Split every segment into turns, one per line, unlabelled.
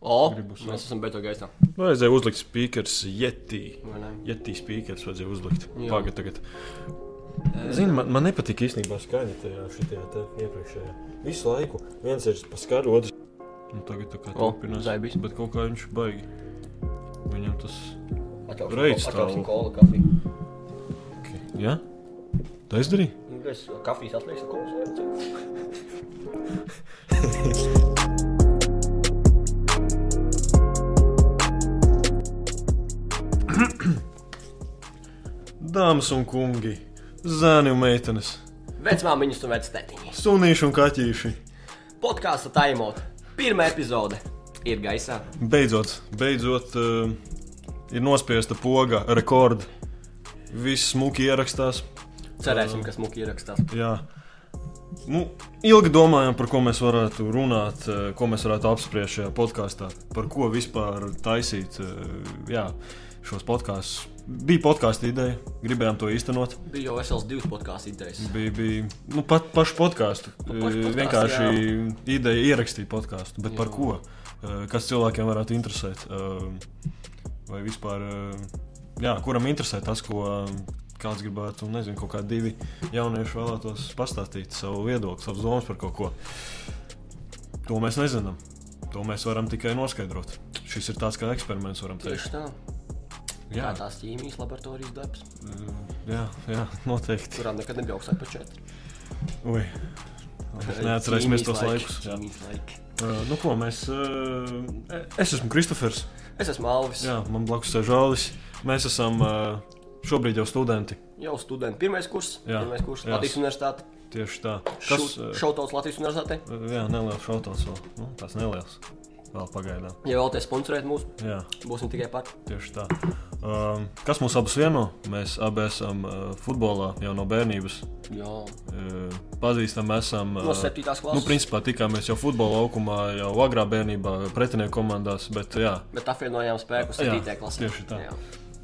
O,
Gribas, jā.
mēs esam beto gaisā.
Vajadzēja uzlikt speakers, jetī.
vai ne?
Jetī speakers vajadzēja uzlikt.
Jā.
Pagaidiet, tagad. Zini, man, man nepatīk īstenībā skaņa tajā šitajā te iepriekšējā. Visu laiku viens ir pa skaru, otrs. Nu, tagad tā kā
O,
turpinās.
zaibis.
Bet kaut kā viņš baigi. Viņam tas.
Atļausim
Reiz
ko- atļausim
stāvu.
kolu, kafiju.
Jā? Tā izdarīja?
Nu, Es kafijas atlieku kolu.
Dāmas un kungi, zēni un meitenes,
Vecmāmiņas un vectētiņas.
sunīši un kaķīši.
Podkāsta taimot. Pirmā epizode ir gaisā.
Beidzot, beidzot uh, ir nospiesta poga rekords. Viss smuki ierakstās.
Cerēsim, ka smuki ierakstās.
Jā. Nu, ilgi domājām, par ko mēs varētu runāt, eh, ko mēs varētu apspriest šajā podkāstā, par ko vispār taisīt eh, jā, šos podkāstus. Bija podkāstu ideja, gribējām to īstenot.
Bija jau vesels divas podkāstu idejas.
Bija, bija nu, pat Nu, pašu podkāstu. eh,
pašu podcastu,
Vienkārši jā. ideja ierakstīt podkāstu. Bet jā. par ko? Eh, Kas cilvēkiem varētu interesēt? Eh, Vai vispār, eh, jā, kuram interesē tas, ko eh, kāds gribētu, nezinu, kaut kādi divi jaunieši vēlētos pastāstīt savu viedokli, savas domas par kaut ko. To mēs nezinām. To mēs varam tikai noskaidrot. Šis ir tāds kā eksperiments, varam teikt.
Tieši tā. Jā,
Jā,
tās ķīmijas laboratorijas darbs,
eh, jā, jā noteikti.
kurām nekad nebija augstāk par četriem.
Ui. Neatcerēsimies tos laikus. Jā.
Laiki.
Uh, nu, ko mēs. Uh, es esmu Kristofers.
Es esmu Alvis. Jā.
Jā, man blakus ir Žālis. Mēs esam uh, šobrīd jau studenti.
Jau students. Pirmais kurs.
Jā.
Pirmais kurs.
Jā.
Latvijas universitāte.
Tieši tā. Kas,
Šaut-
uh,
Šautauts Latvijas universitātei.
jā, neliels šautavs vēl. Nu, tās neliels. Vēl pagaidām.
Ja vēlaties sponsorēt mūs,
Jā,
būsim tikai par.
tieši tā. Um, kas mūs abus vieno? Mēs abi esam uh, futbolā jau no bērnības.
Jā.
Uh, pazīstami esam.
No
Uh,
septītās
nu,
klases.
principā tikāmies jau futbola laukumā, jau agrā bērnībā, pretinieku komandās. Bet, jā,
Bet apvienojām spēku
Jā,
7. klasē.
tieši tā.
Jā.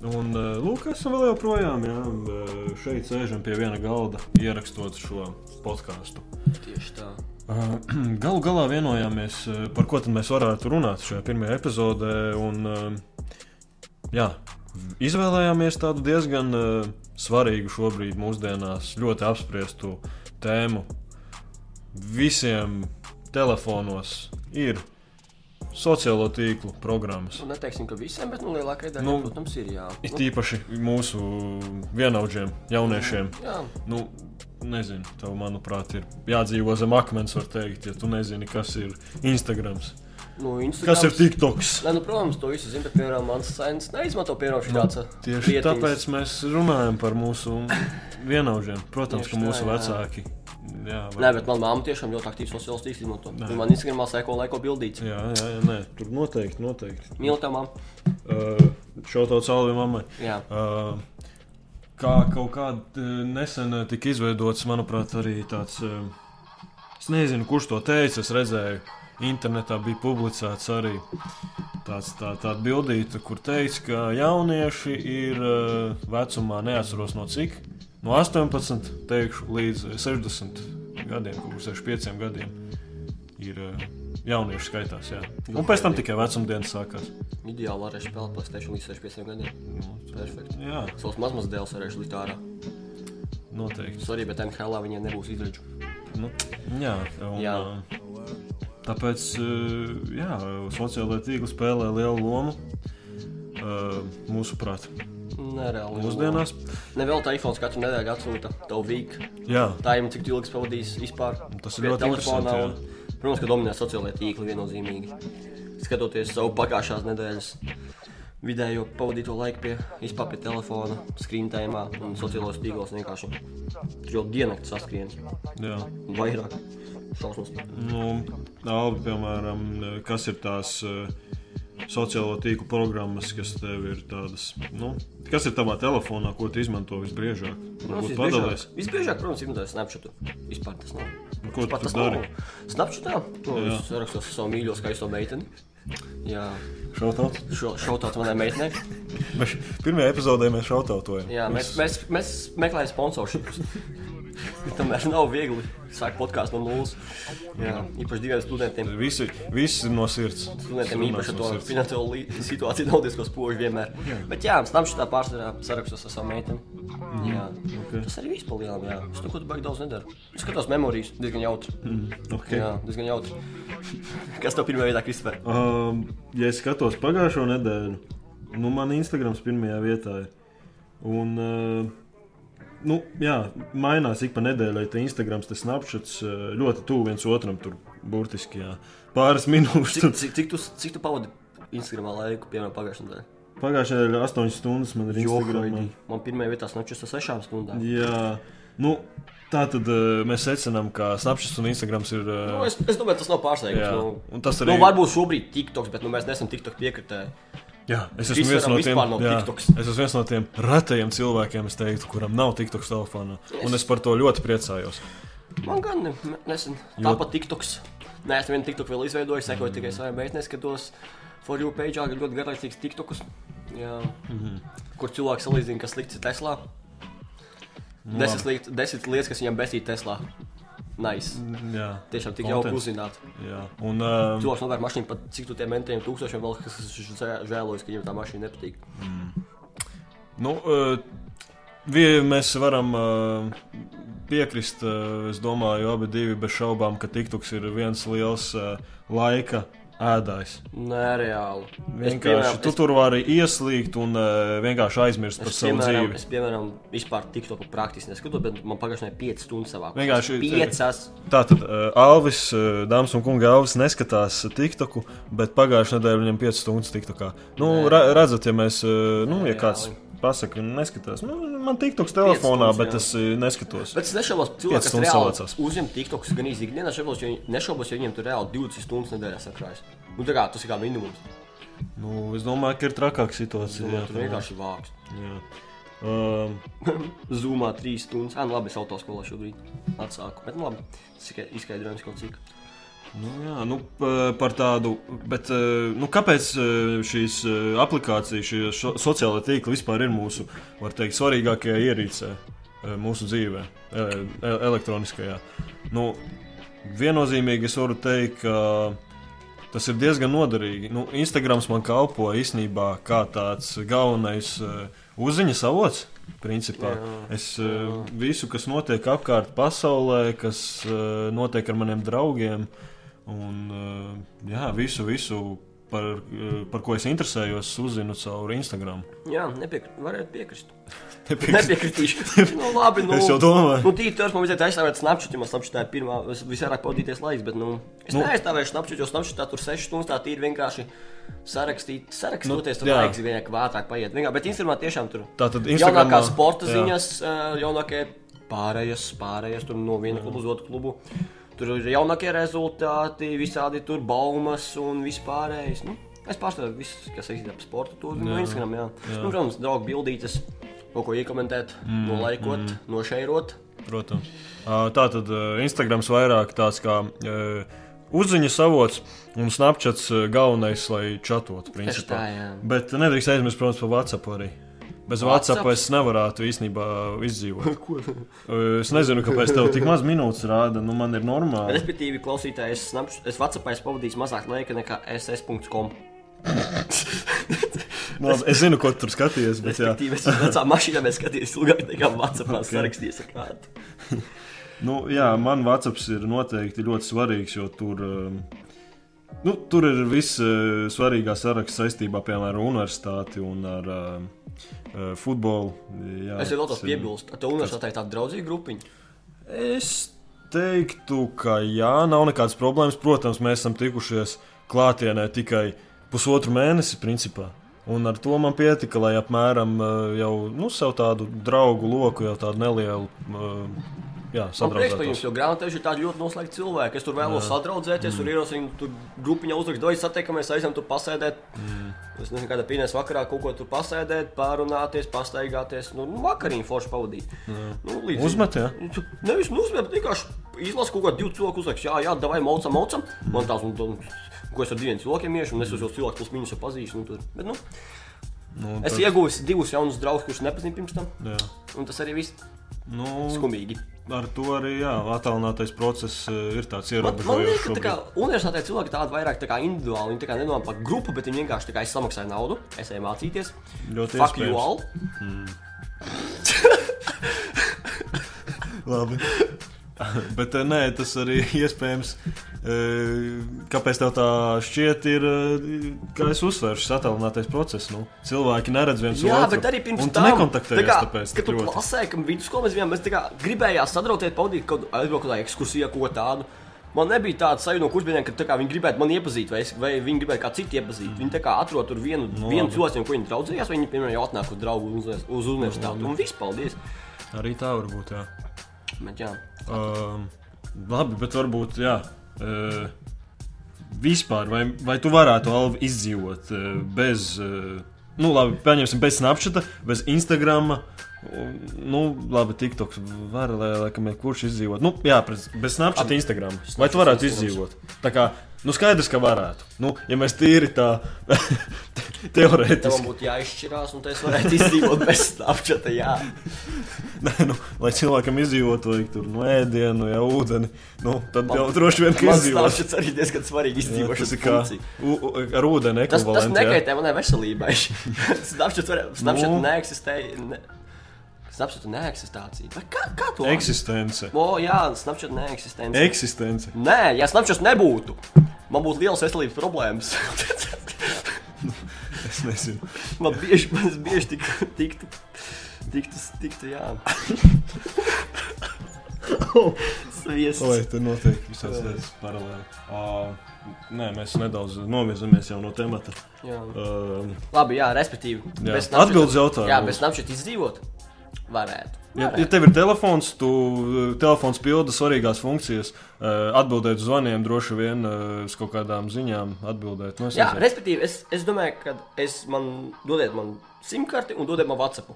Un, eh, lūk, esam vēl joprojām jā, eh, šeit, sēžam pie viena galda, ierakstot šo podkāstu. Eh,
Tieši tā.
Galu galā vienojāmies, eh, par ko tad mēs varētu runāt šajā pirmajā epizodē. Un, eh, jā, izvēlējāmies tādu diezgan eh, svarīgu šobrīd, mūsdienās ļoti apspriestu tēmu. Visiem telefonos ir sociālo tīklu programmas.
Nu, neteiksim, ka visiem, bet nu, lielākajai daļai, nu,
Nu,
protams, ir jā.
It
Nu,
īpaši mūsu vienaudžiem, jauniešiem.
jā.
Nu, nezinu, tev, manuprāt, ir jādzīvo zem akmens, var teikt, ja tu nezini, kas ir Instagram.
Nu,
Kas ir
Instagrams-
TikToks?
Nē, nu, protams, to visu zinu, bet, piemēram, mans sēns neizmanto uh, pienākumu šādu
Nu, Tieši Lietiņas. tāpēc mēs runājam par mūsu vienaudžiem. Protams,
Tieši
ka
tā,
mūsu
jā.
vecāki. Jā,
Nē, bet manā mamā tiešām ļoti aktīvi sociālās tīklus izmanto.
Nē.
Viņa man Instagramā seko laiko bildīts.
Jā, jā, jā nē, tur noteikti, noteikti.
Mīlu tā mamma.
Uh, Šauta caurumā mammai.
Jā,
Uh, kā kaut kāda uh, nesen uh, tika izveidots, manuprāt, arī tāds. uh, Es nezinu, kurš to teica. Es redzēju, internetā bija publicēts arī tāds, tā, tāda bildīte, kur teica, ka jaunieši ir uh, vecumā neatceros no cik. No 18 teikšu, līdz 60 gadiem, kaut kur 65 gadiem ir uh, jaunieši skaitās. Jā. Un pēc tam tikai vecumdienas sākās.
ideāli varēšu spēlēt PlayStation līdz 65 gadiem.
Nu, tā-
Perfekti.
Jā,
Savus mazmaz dēls varēšu likt ārā.
noteikti.
Sorry, bet NHL viņiem nebūs izredzes.
Nu, jā, un,
Jā.
ā, Tāpēc ā, jā, sociālajā tīklā spēlē lielu lomu. ā, Mūsuprāt,
Nereāli.
mūsdienās.
Nevēl tā iPhone katru nedēļu atsūta tev vīk.
Jā,
Tā jau cik tu ilgi pavadīs vispār.
Tas
pie
ir ļoti
telefona
interesanti,
un- Protams, ka dominē sociālajā tīklā viennozīmīgi. Skatoties savu pagājušās nedēļas vidējo pavadīto laiku pie, vispār pie telefona, skrīntājumā un sociālajos tīklos vienkārši tur jau diennakts saskrienas.
jā.
Vairāk šausmas.
Nu, Alba, piemēram, kas ir tās ā, sociālo tīklu programmas, kas tev ir tādas, nu, kas ir tavā telefonā, ko tu izmanto visbiežāk?
Protams,
Varbūt padalies.
visbiežāk- Visbiežāk, protams, izmantoju Snapchat. Vispār tas nav.
Ko
Vispār
tu
tas nav.
dari?
Snapchatā to
Jā.
es rakstos ar savu mīļo skaisto meiteni. Jā,
Šautaut?
šo, šo tādu manai meitenei.
Mēs- Pirmajā epizodē mēs šautautojam.
Jā, mēs, mēs, mēs meklējam sponsorus. Tomēr nav viegli sākt podkāstu no nulles. Jā, īpaši diviem studentiem.
Visi, visi no sirds.
Studentiem
Runās
īpaši ar
no
to
sirds.
finansiālo lī- situāciju nav diezgan spoži vienmēr. Bet jā, tam šitā pārsvarā sarakstos ar savu meiteni. Jā,
Ok.
tas arī viss palielam, jā. Es neko tu baigi daudz nedaru. Es skatos memorijas, diezgan jautri.
Okay.
Jā, diezgan jautri. Kas tev pirmajā vietā, Kristofer?
Um, ja es skatos pagājušo nedēļu, nu, man Instagrams pirmajā vietā ir. Un, uh, nu, jā, mainās ik pa nedēļai. Tā Instagrams, tas snapšots ļoti tuvu viens otram, tur burtiski jā. pāris minūtes.
Cik, cik, cik, tu, cik tu pavadi Instagramā laiku, piemēram, pagājušajā nedēļā?
Pagājušajā nedēļā 8 stundas man ir Instagramā.
Johaidī. Man pirmajā vietā snačus ar sešām stundām.
Jā, nu, tā tad uh, mēs secinām, ka Snapchat un Instagrams ir. Uh,
Nu, es, es domāju, tas nav pārsteigums.
jā,
Nu,
un tas
nu,
arī
varbūt šobrīd ir TikToks, bet nu, mēs neesam TikTok piekritēji.
Jā, es
Kristaram
esmu viens no tiem,
vispār nav
jā,
TikToks.
es esmu viens no tiem retajiem cilvēkiem, es teiktu, kuram nav TikToks telefonā. Un es par to ļoti priecājos.
Man gan ne- ne- nesen
Jo-
tāpat TikToks. Nē, es vienu TikToku vēl izveidoju, sekoju tikai savai meitai, skatos For You page, ir ļoti garlaicīgs TikToks. Jā.
Mhm.
Kur cilvēks salīdzina, kas slikts ir Teslā.
Nu,
Desmit liet- Desmit lietas, kas viņam besīja Teslā. Nice.
Jā,
Tiešām tik jauki
Contents.
uzzināt.
jā. Un, um,
Cilvēks nopērk mašīnu pat cik tu tiem mentiem tūkstošiem vēl, kas viņš žēlojas, ka viņam tā mašīna nepatīk.
nu, uh, vi- mēs varam uh, piekrist, uh, es domāju, abi divi bez šaubām, ka TikToks ir viens liels uh, laika ēdājs.
Nē, reāli. Es,
Vienkārši tu
es-
tur vari ieslīgt un uh, vienkārši aizmirst par
Es
savu
piemēram,
dzīvi.
es, piemēram, vispār TikToku praktiski neskatos, bet man pagājušajā nedēļā 5 stundas savā.
Vienkārši- eh,
5.
Tātad uh, Alvis, uh, dāmas un kungi, Alvis neskatās TikToku, bet pagājušā nedēļa viņam 5 stundas TikTokā. Nu,
Nē.
ra redzat, ja mēs, uh, nu, ja
Reāli.
kāds pasaka, neskatās, nu, man TikToks telefonā,
stundas,
bet
jā.
es uh, neskatos.
Bet es nešaubos, ka cilvēks
stundas
reāli
savācās.
uzņem TikToks gan īsi ikdienā, nešaubos, jo viņi- nešaubos, jo viņiem tur reāli 20 stundas nedēļā sakrājas. Nu, tā kā tas ir kā minimums.
Nu, es domāju, ka ir trakāka
Es
situācija.
domāju, Tur vienkārši ir vāks.
Jā. Um,
Zumā 3 stundas. Ah, nu labi, es autoskolā šobrīd atsāku. Bet nu labi, tas tikai izskaidrojums kaut cik.
Nu, jā, nu, p- par tādu, bet eh, nu, kāpēc eh, šīs eh, aplikācijas, šie šo, sociālai tīkli vispār ir mūsu, var teikt, svarīgākajā ierīcē eh, mūsu dzīvē, eh, e- elektroniskajā? Nu, viennozīmīgi es varu teikt, ka tas ir diezgan noderīgi. Nu, Instagrams man kalpo īstenībā kā tāds galvenais eh, uzziņas avots. Principā.
Jā.
Es eh, visu, kas notiek apkārt pasaulē, kas eh, notiek ar maniem draugiem, Un eh, jā, visu, visu par, eh, par ko es interesējos, uzzinu caur Instagram.
Jā, nepiekri, varētu piekrist.
Nepiekrist.
Nepiekritīšu. nu, labi, nu,
Es jau domāju,
Nu, tīri, man vajadzēja aizstāvēt Snapchat, jo man Snapchatā ir pirmā, vis- visvairāk pavadīties laiks, bet, nu, es
Nu.
nu, neaizstāvēju Snapchat, jo Snapchatā tur 6 stundas tā ir vienkārši sarakstīt, sarakstoties,
Nu, jā.
tad laiks vienkārši vātrāk paiet. Vienkār, bet Instagramā tiešām tur
tā tad
jaunākā
Instagramā
sporta
jā.
ziņas, ā, jaunākie pārējas, pārējas tur no viena kluba uz otru klubu. Tur ir jaunākie rezultāti, visādi tur baumas un vispārējais. Nu, es pārstāvu visu, kas saistīts ar sporta tūri no Instagram. Jā. Jā. Nu, protams, draugi bildītas, kaut ko iekomentēt, mm, nolaikot, mm. nošeirot.
Protams. Ā, Tā tad eh, Instagrams vairāk tāds kā eh, uzziņas avots un Snapchats eh, galvenais, lai čatotu.
Tieši
Principā.
tā, jā.
Bet nedrīkst aizmirst, protams, par WhatsApp arī. Bez
WhatsApp?
WhatsApp es nevarētu īstenībā izdzīvot. Eh, Es nezinu, kāpēc tev tik maz minūtes rāda. Nu, man ir normāli.
Respektīvi, klausītājs, es, snapš- es Whatsappā esmu pavadījis mazāk laika nekā ss.com.
Nu, labi, es zinu, ko tu tur skaties. Bet, jā.
Respektīvi, es uz vecām mašīnām esmu skatījies ilgāk nekā Whatsappā okay. sarakstījies ar kādu.
Nu, jā, man Vācijā ir noteikti ļoti svarīgs, jo tur, um, nu, tur ir viss uh, svarīgākais saraksts saistībā piemēram, ar universitāti un ar um, uh, futbolu. Jā,
Es jau vēl
tas
tos
ir-
piebilstu. Ar to universitātē ir tāda draudzīga grupiņa.
Es teiktu, ka jā, nav nekādas problēmas. Protams, mēs esam tikušies klātienē tikai pusotru mēnesi, principā. Un ar to man pietika, lai apmēram uh, jau nu, sev tādu draugu loku, jau tādu nelielu. uh, Jā,
Man prieks par
sadraudzētos.
jums, jo grāmatveži ir tādi ļoti noslēgti cilvēki. Es tur vēlos
Mm.
sadraudzēties, tur ierosinu, tur grupiņā uzrakstu, doj satiekamies, aizem tur pasēdēt.
Mm.
Es nezinu, kāda pīnēs vakarā kaut ko tur pasēdēt, pārunāties, pastaigāties. Nu, nu vakariņu forši pavadīt. Nu, līdz-
Uzmet, jā.
Tu Nevis uzmet, vienkārši izlasi kaut kādu divu cilvēku uzrakstu. Jā, jā, davai maucam, maucam. Man tās, un, un, ko es ar diviem cilvēkiem iešu, un es uz jau cilvēku plus mīnus jau pazīstu. Nu, tur. Bet, nu,
Nu,
es
tad-
ieguvu divus jaunus draugus, kurus nepazinu pirms tam.
jā.
Un tas arī viss.
Nu,
skumīgi.
ar to arī attēlinātais process eh, ir tāds
Man, man liekas,
ierobežojošs.
ka tā kā universitātē cilvēki tādi vairāk tā kā individuāli, viņi tā kā nedomā par grupu, bet viņi vienkārši tā kā es samaksāju naudu, es eju mācīties.
Ļoti
Fuck you
iespējams.
all.
Labi. Bet eh, nē, tas arī iespējams. eh, Kāpēc tev tā šķiet, ir, eh, kā es uzsveru, šis attēlinātais process? Nu, cilvēki neredz viens
Jā,
otru.
bet arī pirms
un tu
tam, tā
nekontaktējies,
kā,
tāpēc
kad
tik
tu
ļoti.
klasē, ka vidusskolā mēs bijām, mēs tā kā gribējām sadrauties, pavadīt kaut kādu ekskursiju, ko tādu. Man nebija tāda sajūta no kursiem, ka tā kā viņi gribētu mani iepazīt, vai, es, vai viņi gribētu kā citu iepazīt. Viņi tā kā atrod tur vienu, no, vienu
Nu, labi. Nu,
cilvēku, ar ko viņi draudzējās, vai viņi, piemēram, jau atnāk uz draugu uz, uz universitāti. Un viss, paldies!
Arī tā var būt. Jā.
Bet, jā.
Um, labi, bet varbūt jā. Uh, vispār, vai, vai tu varētu Alvi, izdzīvot uh, bez, uh, nu, labi, pieņemsim, bez Snapchata, bez Instagrama. un, Nu, labi, TikToks var, lai, laikam, ir kurš izdzīvot. Nu, jā, bez, bez Snapchata, Instagram. Vai tu varētu izdzīvot? Tā kā, nu, skaidrs, ka varētu. Nu, ja mēs tīri tā te-
Tev
teorētiski,
būtu jāizšķirās, un es varētu izdzīvot bez apčata. Jā,
Nē, nu, lai cilvēkam izdzīvotu, vajag tur no ēdienu, jau ūdeni, nu, tad
Man-
jau droši vien, ka
tas
izdzīvot.
apčats arī diezgan svarīgi
Jā, tas
izdzīvošanas
ir kā
funkcija.
u- u- ar ūdeni
Tas, tas
ekvivalents. jā.
nekaitē manai veselībai. Snapchat, var, Snapchat
Nu.
neeksistē. Ne, Snapchat neeksistācija. Vai Kā, kā to?
Eksistence.
O, jā, Snapchat neeksistē.
Eksistence.
Nē, ja Snapchat nebūtu, man būtu liels veselības problēmas.
Es nezinu.
man bieži, man es bieži tik, tiktu, tiktu, tiktu, jā.
Lai
Sviests.
tur notiek visādas lietas paralēli. Ā, Nē, mēs nedaudz novirzamies jau no temata.
Jā.
Ā,
Labi, jā, respektīvi.
Jā.
bez Snapchata-
Atbildes jautājumu.
Jā, bez Snapchat izdzīvot varētu.
Ja,
varētu.
ja tev ir telefons, tu ā, telefons pilda svarīgās funkcijas, ā, atbildēt uz zvaniem, droši vien ā, uz kaut kādām ziņām atbildēt. Nu, es
Jā,
nezinu.
respektīvi, es, es domāju, ka es man dodiet man simkarti un dodiet man WhatsApp.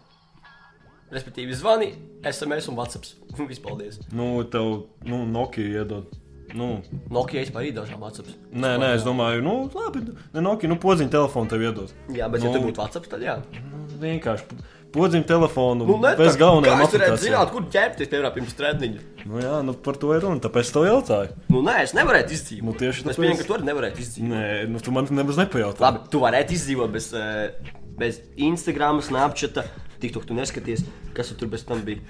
Respektīvi, zvani, SMS un WhatsApp. Vispaldies.
nu, tev, nu, Nokia iedod. Nu,
Nokia es arī dažām WhatsApp.
nē, nē, es domāju, nu, labi, ne Nokia, nu, podziņa telefonu tev iedod.
Jā, bet ja
Nu.
te būtu WhatsApp, tad jā.
Vienkārši podziņu telefonu
Nu, ne,
bez
tā-
galvenajām
kā es varētu
aplikācijām.
zināt, kur ķerties, piemēram, pirms treniņa.
Nu, jā, nu par to ir runa. Tāpēc es tev jautāju.
Nu, nē, es nevarētu izdzīvot.
Nu,
tāpēc. Es
tieši tāpēc.
pieņemu, ka tu arī nevarētu izdzīvot.
Nē, nu, tu man nemaz nepajautāji.
Labi, tu varētu izdzīvot bez, eh, bez Instagram, Snapchat, TikTok, tu neskaties, kas tu tur bez tam bija.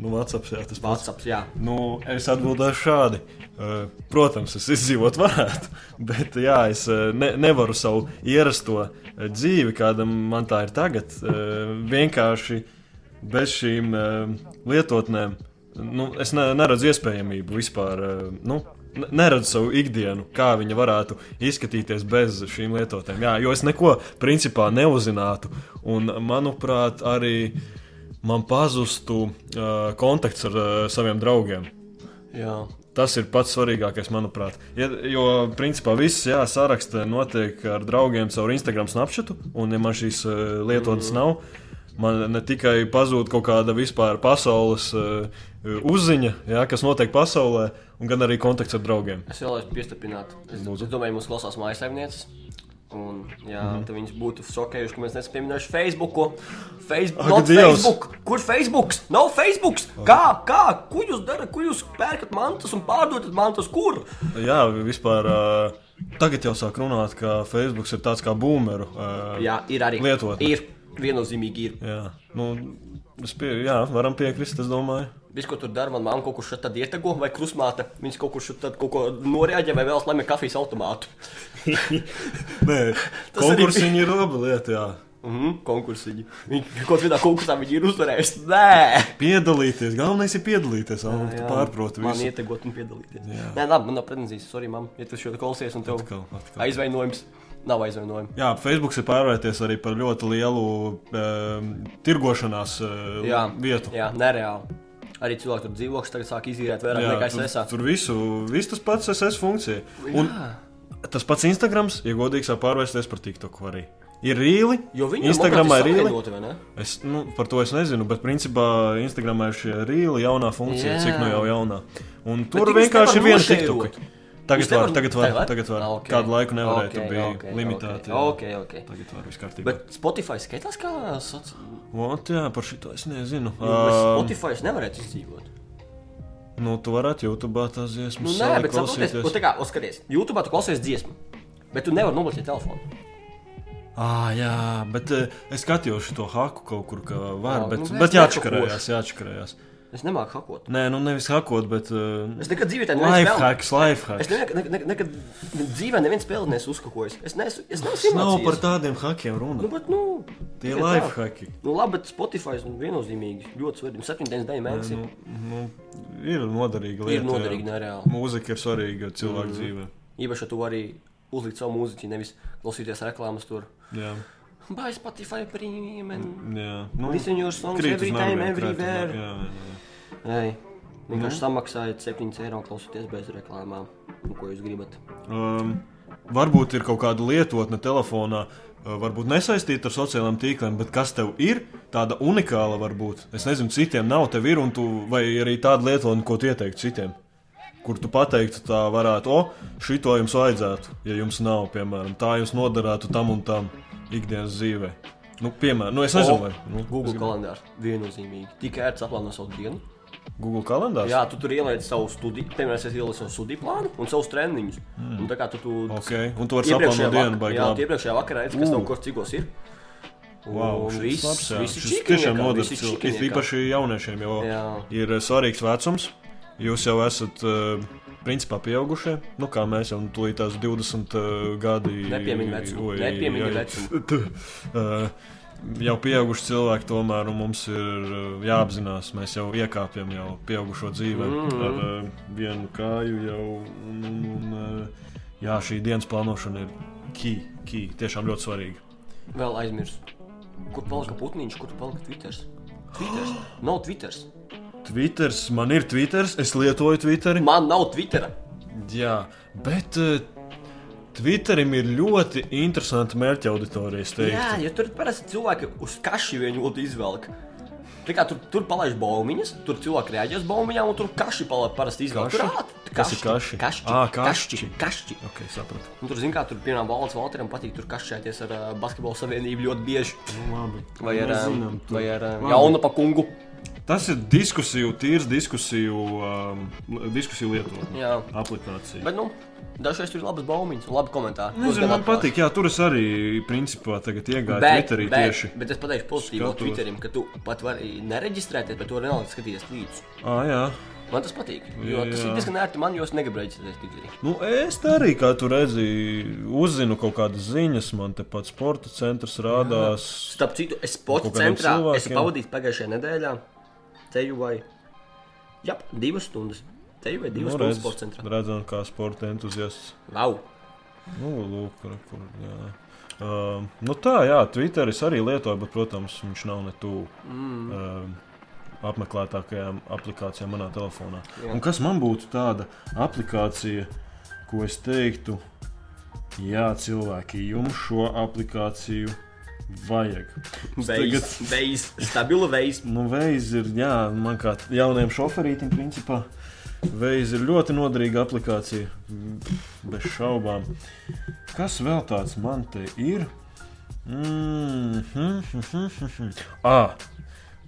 Nu, Vacaps, jā, tas pats.
WhatsApp, jā.
Nu, es atbildēšu šādi. Uh, Protams, es izdzīvot varētu, bet jā, es uh, ne, nevaru savu ierasto uh, dzīvi, kāda man tā ir tagad, uh, vienkārši bez šīm uh, lietotnēm. Nu, es ne, neredzu iespējamību vispār. uh, Nu, ne- Neredzu savu ikdienu, kā viņa varētu izskatīties bez šīm lietotnēm. Jā, jo es neko principā neuzzinātu. Un, manuprāt, arī man pazustu uh, kontakts ar uh, saviem draugiem.
jā.
Tas ir pats svarīgākais, manuprāt. Ja, jo, principā, viss jā, saraksts notiek ar draugiem caur Instagram snapšatu, un, ja man šīs eh, lietotnes nav, man ne tikai pazūd kaut kāda vispār pasaules eh, uzziņa, jā, kas notiek pasaulē, un gan arī kontakts ar draugiem.
Es vēlos piestiprināt. Es,
Lūdzu.
es domāju, mūsu klausās mājas saimnieces. Un, jā,
Mhm.
mm -hmm. Viņus būtu šokējuši, ka mēs nesam pieminējuši Facebook. Facebook,
Ak,
not
Dievs!
Facebook. Kur Facebook? Nav Facebook! Kā, kā, ko jūs darat, ko jūs pērkat mantas un pārdodat mantas, kur?
Jā, vispār. eh, Tagad jau sāk runāt, ka Facebook ir tāds kā boomeru. eh,
Jā, ir arī
Lietotne.
Ir viennozīmīgi, ir.
Jā, nu, es pie, jā, varam piekrist, es domāju.
Viss, ko tur dara, man mamma kaut kur šeit tad ietego, vai krusmāte. Viņas kaut kur šeit tad kaut ko norēģē, vai vēlas lemē kafijas automātu.
Nē,
Tas arī
konkursi
bija-
viņi ir laba lieta. Jā.
Mhm, konkursi. Viņi kaut kādā konkursā viņi ir uzvarējuši. Nē!
Piedalīties, galvenais ir piedalīties. Alma, tu
Jā,
pārproti
Man
visu.
ietegot un piedalīties.
Jā.
Nē, labi, man nav pretenzijas. Sorry, mam, ja tu šo klausies un tev
Atkal, atkal.
aizvainojums. Nav aizvainojuma.
Jā, Facebook ir pārvērties arī par ļoti lielu um, tirgošanās um,
Jā,
vietu.
Jā, nereāli. Arī cilvēki tur dzīvokļus tagad sāk izīrēt vairāk jā, nekā es
tur,
esmu.
tur visu, viss tas pats SS funkcija. Un tas pats Instagrams, ja godīgi, sāk pārvērsties par TikTok arī. Ir rīli,
Jo viņi
Instagramā ir rīli.
iedoti, vai ne?
Es, nu, par to es nezinu, bet principā Instagramā ir šī rīla jaunā funkcija,
Jā.
cik no jau jaunā. Un
Bet
tur
viņus
vienkārši
nevar
ir viena
nošeirot.
tiktuka. Tagad
Jūs nevar-
var, tagad var,
Tagad var?
tagad var.
Ah, ok.
Kādu laiku nevarēja,
Ok,
tur bija
ok,
limitāti.
Ok, ok. ok.
Tagad var viss kārtībā.
Bet Spotify skatās, kā soci...
Ot, jā, par šito es nezinu.
um,
Ām,
Spotify nevarētu izdzīvot.
Nu, tu varētu YouTube tā dziesmu
Nu, nē, bet saprotiet, nu, tā kā uzskaties, YouTube tu klausies dziesmu, bet tu nevari nobloķēt telefonu.
Ah, jā, bet eh, es skatījos to haku kaut kur, ka var,
Ā,
bet,
nu,
nu,
mēs
bet
nehakošu.
jāčakarējās, jāčakarējās.
Es nemāku hakot.
Nē, nu nevis hakot, bet... Uh,
Es nekad dzīvē tādu
life hacks, life
Es
hacks.
nekad, nekad, nekad dzīvē nevienu spēli nesu uzkakojis. Es nesu, es nesu
Tas nav
iemācījies.
par tādiem hakiem
Nu,
runa.
bet, nu,
Tie
tikai
life
tā.
haki.
Nu, labi, bet Spotify nu, viennozīmīgi ļoti svarīgi. 79 mēnesi
Nu, nu, ir noderīga lieta.
ir noderīgi,
jā.
nereāli.
Mūzika ir svarīga cilvēku dzīvē.
Īpaši, ja tu vari uzlikt savu mūziķi, nevis klausīties reklāmas tur.
Jā,
Buy Spotify premium and
jā. Nu,
listen your songs
krīt uz
every time,
nerviem, krīt uz nerviem,
everywhere.
Jā, jā, jā.
Ei, vienkārši samaksājiet 7 eiro klausoties bez reklāmām. Nu, ko jūs gribat?
Um, varbūt ir kaut kāda lietotne telefonā, uh, varbūt nesaistīta ar sociālajiem tīkliem, bet kas tev ir tāda unikāla, varbūt. Es nezinu, citiem nav, tev ir, un tu, vai arī tāda lietotne, ko tu ieteiktu citiem. Kur tu pateiktu, tā varētu, o, šito jums vajadzētu, ja jums nav, piemēram, tā jums noderētu tam un tam ikdienas dzīvē. Nu, piemēram, nu, es nezinu, vai nu, es
Google
gribu-
kalendārs viennozīmīgi. Tikai ērts aplāno savu dienu.
Google kalendārs.
Jā, tu tur ieliec savu studiju, piemēram, es ielieku savu studiju plānu un savus treniņus. Mm. Un tā kā tu tur
Hmm. Ok, un tu vari saplānot dienu, vai
jā, tu
kā?
iepriekšējā vakarā redzi, kas
Ū.
tev kur cikos ir.
Wow,
un
šis
viss,
labs, jā.
viss
Šis
čikiniekā,
tiešām noder
visi
cilvēkiem,
čikiniekā.
it īpaši jauniešiem, jo
Jā.
ir eh, svarīgs vecums. Jūs jau esat eh, principā pieaugušie, nu kā mēs jau tur tās 20 eh, gadi.
Nepiemini vecumu,
oi,
nepiemini
oi,
vecumu.
tu, eh, Jau pieauguši cilvēki, tomēr un mums ir eh, jāapzinās, mēs jau iekāpjam jau pieaugušo dzīvē
Mhm.
ar eh, vienu kāju jau. Un, un, un, eh, jā, šī dienas plānošana ir key, key, tiešām ļoti svarīga.
Vēl aizmirsu. Kur palika putniņš, kur palika Twitter? Twitter. Nav Twitter.
Twitter, man ir Twitter, es lietoju Twitter.
Man nav Twitter.
Jā, bet eh, Twitterim ir ļoti interesanti mērķa auditorija. es teiktu.
Jā, jo tur parasti cilvēki uz kaši viņu ļoti izvelk. Tā kā tur, tur palaiž baumiņas, tur cilvēki reaģē uz baumiņām, un tur kaši palaiž parasti izvelk. Tur
Kaši?
ātri-
Kas ir kaši?
Kašķi,
Ā,
kašķi,
kašķi.
kašķi.
Ok, sapratu.
Un tur, zin kā, tur piemēram valsts valteriem patīk tur kašķēties ar uh, basketbalu savienību ļoti bieži.
Nu, labi.
Vai ar,
Mēs
um,
zinām to.
vai ar um,
Labi.
jaunu pakungu.
Tas ir diskusiju, tīrs diskusiju, um, li- diskusiju lietotne.
Jā.
Aplikācija.
Bet, nu, dažreiz tur ir labas baumiņas un labi komentāri.
Nezinu,
Uzgan
man
atklāšu.
patīk, jā, tur es arī, principā, tagad iegāju Twitterī tieši.
bet es pateikšu pozitīvu
Skatos.
Twitterim, ka tu pat vari nereģistrēties, bet tu vari vienalga skatīties līdzi.
Ā, jā.
Man tas patīk. Jo tas
Jā.
ir diezgan ērti man, jo es negribu reģistrēties Twitterī.
Nu, es tā arī, kā tu redzi, uzzinu kaut kādas ziņas. Man te pat sporta centrs rādās.
Starp citu, es sporta
Nu, Kaut kādiem
centrā esmu
cilvēkiem.
pavadījis pagājušajā nedēļā. Teju vai jā, divas stundas. Teju vai divas nu,
Nu,
stundas
redz-
sporta centrā.
Redzam, kā sporta entuziasts.
Wow.
Nu, lūk, re, kur, jā. Uh, nu tā, jā, Twitteris arī lietoja, bet, protams, viņš nav ne tuvu mm. uh, apmeklētākajām aplikācijām manā telefonā.
Jā.
Un kas man būtu tāda aplikācija, ko es teiktu, jā, cilvēki, jums šo aplikāciju vajag. Es
Veids, veids, stabilu veids.
Nu, veids ir, jā, man kā jaunam šoferītam, principā. Veids ir ļoti noderīga aplikācija. Bez šaubām. Kas vēl tāds man te ir? Mm -hmm. ah,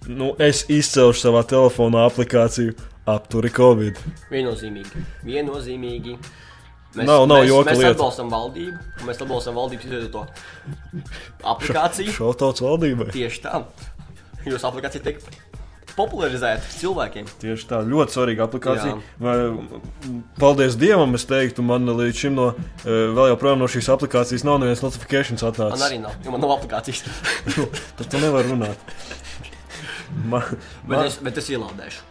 nu, es izcelšu savā telefonā aplikāciju Apturi Covid.
Viennozīmīgi. Viennozīmīgi. Mēs,
Nav- nav
mēs,
joka
mēs
lieta.
atbalstam valdību, un mēs atbalstam valdības izveidoto aplikāciju.
Šautauts valdībai.
Tieši tā. Jūsu aplikācija tiek popularizēta cilvēkiem.
Tieši tā, ļoti svarīga aplikācija.
Jā.
Vai, m, paldies Dievam, es teiktu, man līdz šim no, e, vēl joprojām no šīs aplikācijas nav nevienas notifikācijas atnācis.
Man arī nav, jo man nav aplikācijas.
Nu, Tad tu nevari runāt. Man,
Bet
man,
es, bet es ielādēšu.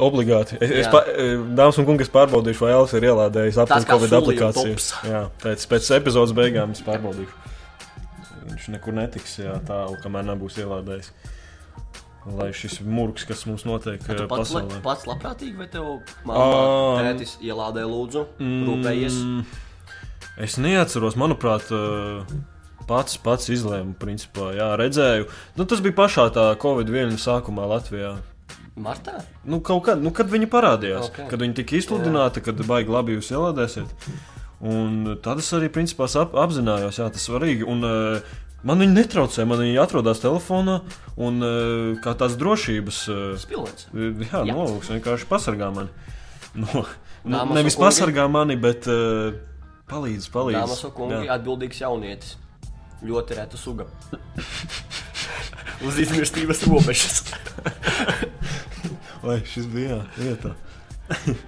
obligāti. Es, es
Jā.
pa, e, dāmas un kungi, es pārbaudīšu, vai Elvis ir ielādējis
Tas
aptuveni
kā
Covid
Sulija
aplikāciju.
tops.
Jā, pēc, pēc epizodes beigām es pārbaudīšu. Viņš nekur netiks, jā, tālu, kamēr nebūs ielādējis. Lai šis murgs, kas mums notiek e,
Tu pats, la,
pasaulē.
pats labprātīgi, vai tev
Ā,
mamma, tētis ielādē lūdzu, rūpējies?
Mm, Es neatceros, manuprāt, eh, pats, pats izlēmu, principā, jā, redzēju. Nu, tas bija pašā tā Covid-19 sākumā Latvijā.
Martā?
Nu, kaut kad, nu, kad viņi parādījās,
Ok.
okay. kad viņi tika izsludināti, kad baigi labi jūs ielādēsiet. Un tad es arī principā sap, apzinājos, jā, tas ir svarīgi. Un, eh, man viņi netraucēja, man viņi atrodas telefonā un eh, kā tās drošības. eh,
Spilvens.
Jā,
Jā.
nolūks vienkārši pasargā mani. No, nu,
Dāmas un
nevis
kungi.
pasargā mani, bet eh, palīdz, palīdz.
Dāmas un kungi,
Jā.
atbildīgs jaunietis. Ļoti reta suga. Uz izmirstības robežas.
Lai šis bija vietā.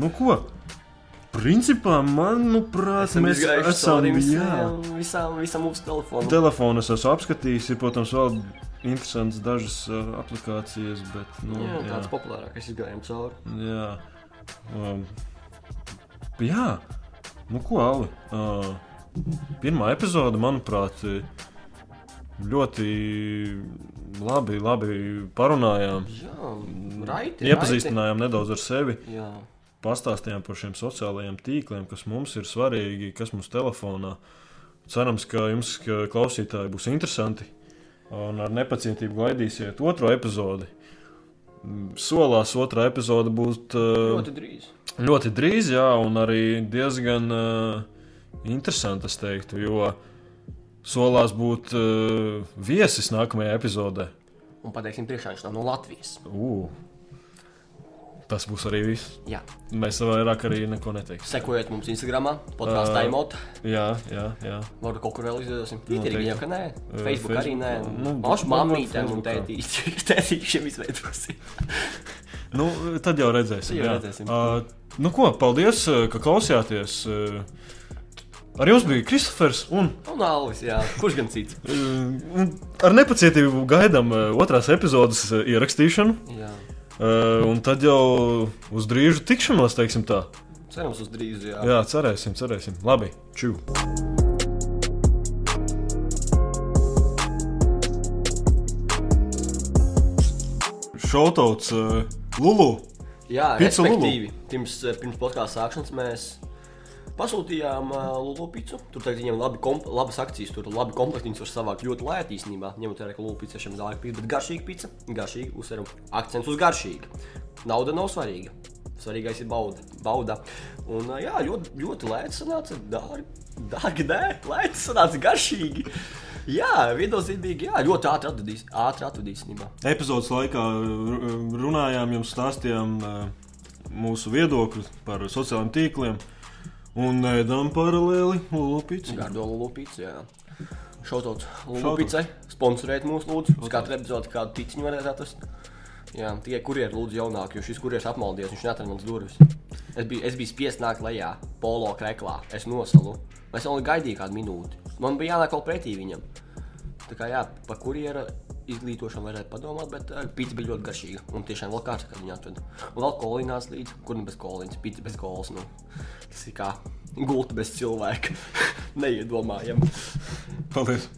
nu, ko? Principā, manuprāt,
Esam
mēs
izgājuši
esam.
cauri
jā.
visiem- visām, visam mūsu telefonam.
Telefonu es esmu apskatījis, ir, protams, vēl interesants dažas uh, aplikācijas, bet. Nu,
Jā,
jā,
tāds populārākais izgājām cauri.
jā. Um, jā, nu ko, Ali? Uh, pirmā epizode, manuprāt, i- ļoti labi, labi parunājām.
Jā, raiti.
Iepazīstinājām nedaudz ar sevi.
raiti. Jā,
pastāstījām par šiem sociālajiem tīkliem, kas mums ir svarīgi, kas mums telefonā. Cerams, ka jums, ka klausītāji, būs interesanti un ar nepacietību gaidīsiet otro epizodi. Mm, Solās otrā epizode būs ļoti,
ļoti drīz.
ļoti drīz, jā, un arī diezgan uh, interesanti, es teiktu, jo solās būt uh, viesis nākamajā epizodē.
Un pateiksim, priekšā viņš nav no Latvijas.
Uh, tas būs arī viss.
Jā,
Mēs vairāk arī neko neteiksim.
sekojiet mums Instagram, podkāstā
Ā,
imot.
Jā, jā, jā.
Varbūt kaut kur vēl izdosim. Twitterī
Noteikti.
jau ka nē,
Eh,
Facebook arī nē.
Facebookā.
Nu,
Nu,
Mašu
varbūt
mammītēm un
Facebookā.
tētīšiem, tētīšiem izveidosim.
Nu, tad jau redzēsim.
Tad jau
jā.
redzēsim.
Ā, nu, ko, paldies, ā, ka klausījāties. ā. Ar jums bija Kristofers un,
Un Alvis, jā, kurš gan cits?
ā, un ar nepacietību gaidām ā, otrās epizodes ā, ierakstīšanu.
Jā,
ā, Un tad jau uz drīzu tikšanos, teiksim tā.
cerams uz drīz, jā.
Jā, cerēsim, cerēsim. Labi, čū! Šautauts uh, Lulu!
Jā,
Picu
respektīvi, pirms, eh, pirms podkāstu sākšanas mēs pasūtījām uh, Lulu pitu. Tur tagad viņiem labi komp- labas akcijas, tur labi komplektiņas var savākt ļoti lēti īstenībā. Ņemot vērā, ka Lulu pica šiem dārgi pīt, bet garšīga pica, garšīga, uzsveram, akcents uz garšīgu. Nauda nav svarīga. Svarīgais ir bauda. bauda. Un, uh, jā, ļoti, ļoti lēti sanāca, dārgi, dārgi, nē, lēti sanāca, garšīgi. Jā, viennozīmīgi, jā, ļoti ātri atradīs, ātri atradīs, īstenībā.
Epizodes laikā ru- runājām, jums stāstījām eh, mūsu viedokli par sociālajiem tīkliem. Un ēdām paralēli Lupīci.
Gardo Lupīts, jā. Šautauts
Shoutouts.
Lupīcai, sponsorēt mūsu lūdzu. Uz katru epizodu kādu ticiņu varētu atrast. Jā, tikai kurjeris lūdzu jaunāk, jo šis kurjeris apmaldies, viņš neatrada manas durvis. Es biju, es biju spiests nākt lejā, polo kreklā, es nosalu. Es vēl gaidīju kādu minūti. Man bija jānāk vēl pretī viņam. Tā kā jā, par kurjeru izglītošanu varētu padomāt, bet uh, pīcis bija ļoti garšīga. Un tiešām vēl kāds, kad viņa atveda. Un vēl kolinās līdzi, kur nu bez kolīnas, pīcis bez kolas. Nu. Tas ir kā gulta bez cilvēka. Neiedomājami.
Paldies!